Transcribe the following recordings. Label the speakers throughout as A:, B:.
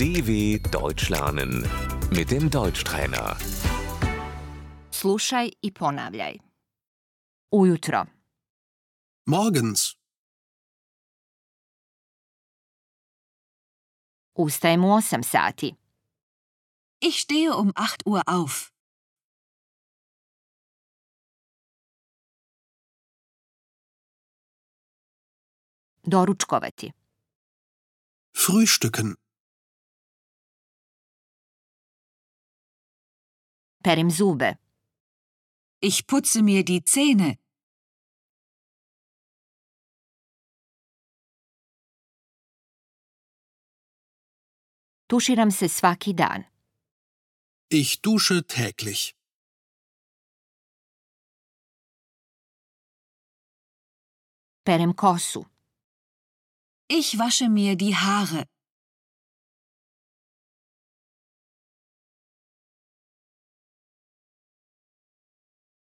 A: DW Deutsch lernen mit dem Deutschtrainer.
B: Slušaj i ponavljaj. Ujutro,
C: Morgens,
B: ustajem u 8 sati.
D: Ich stehe um 8 Uhr auf.
B: Doručkovati,
C: frühstücken,
B: perim zube,
D: Ich putze mir die Zähne.
B: tuširam se svaki dan.
C: ich dusche täglich.
B: Perem kosu,
D: Ich wasche mir die Haare.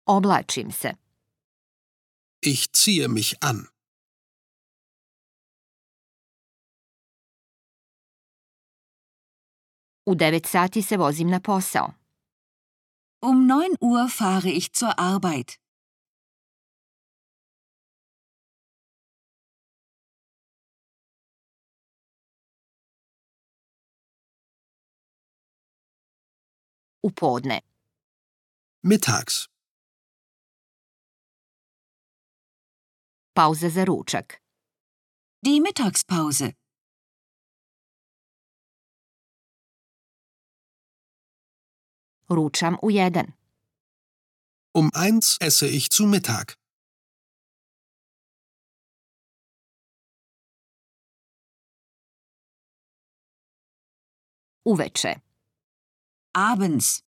B: oblačim se,
C: Ich ziehe mich an.
B: u 9 sati se vozim na posao.
D: Um 9 Uhr fahre ich zur Arbeit.
B: U podne,
C: Mittags,
B: pauza za ručak,
D: Die Mittagspause.
B: ručam u 1.
C: um eins esse ich zu Mittag.
B: Uveče,
D: Abends.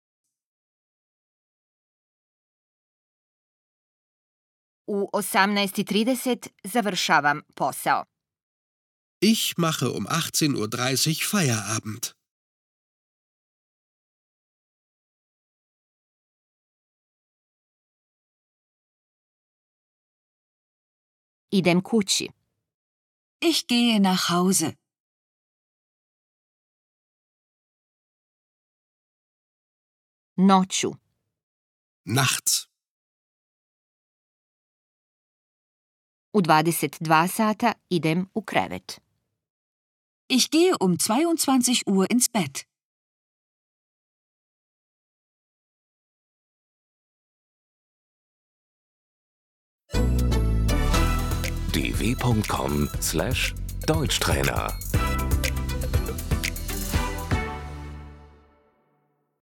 B: u 18.30 završavam posao.
C: Ich mache um 18.30 Uhr Feierabend.
B: Idem kući,
D: Ich gehe nach Hause.
B: noću,
C: Nachts,
B: u 22 sata idem u krevet.
D: Ich gehe um 22 Uhr ins Bett.
A: dw.com/deutschtrainer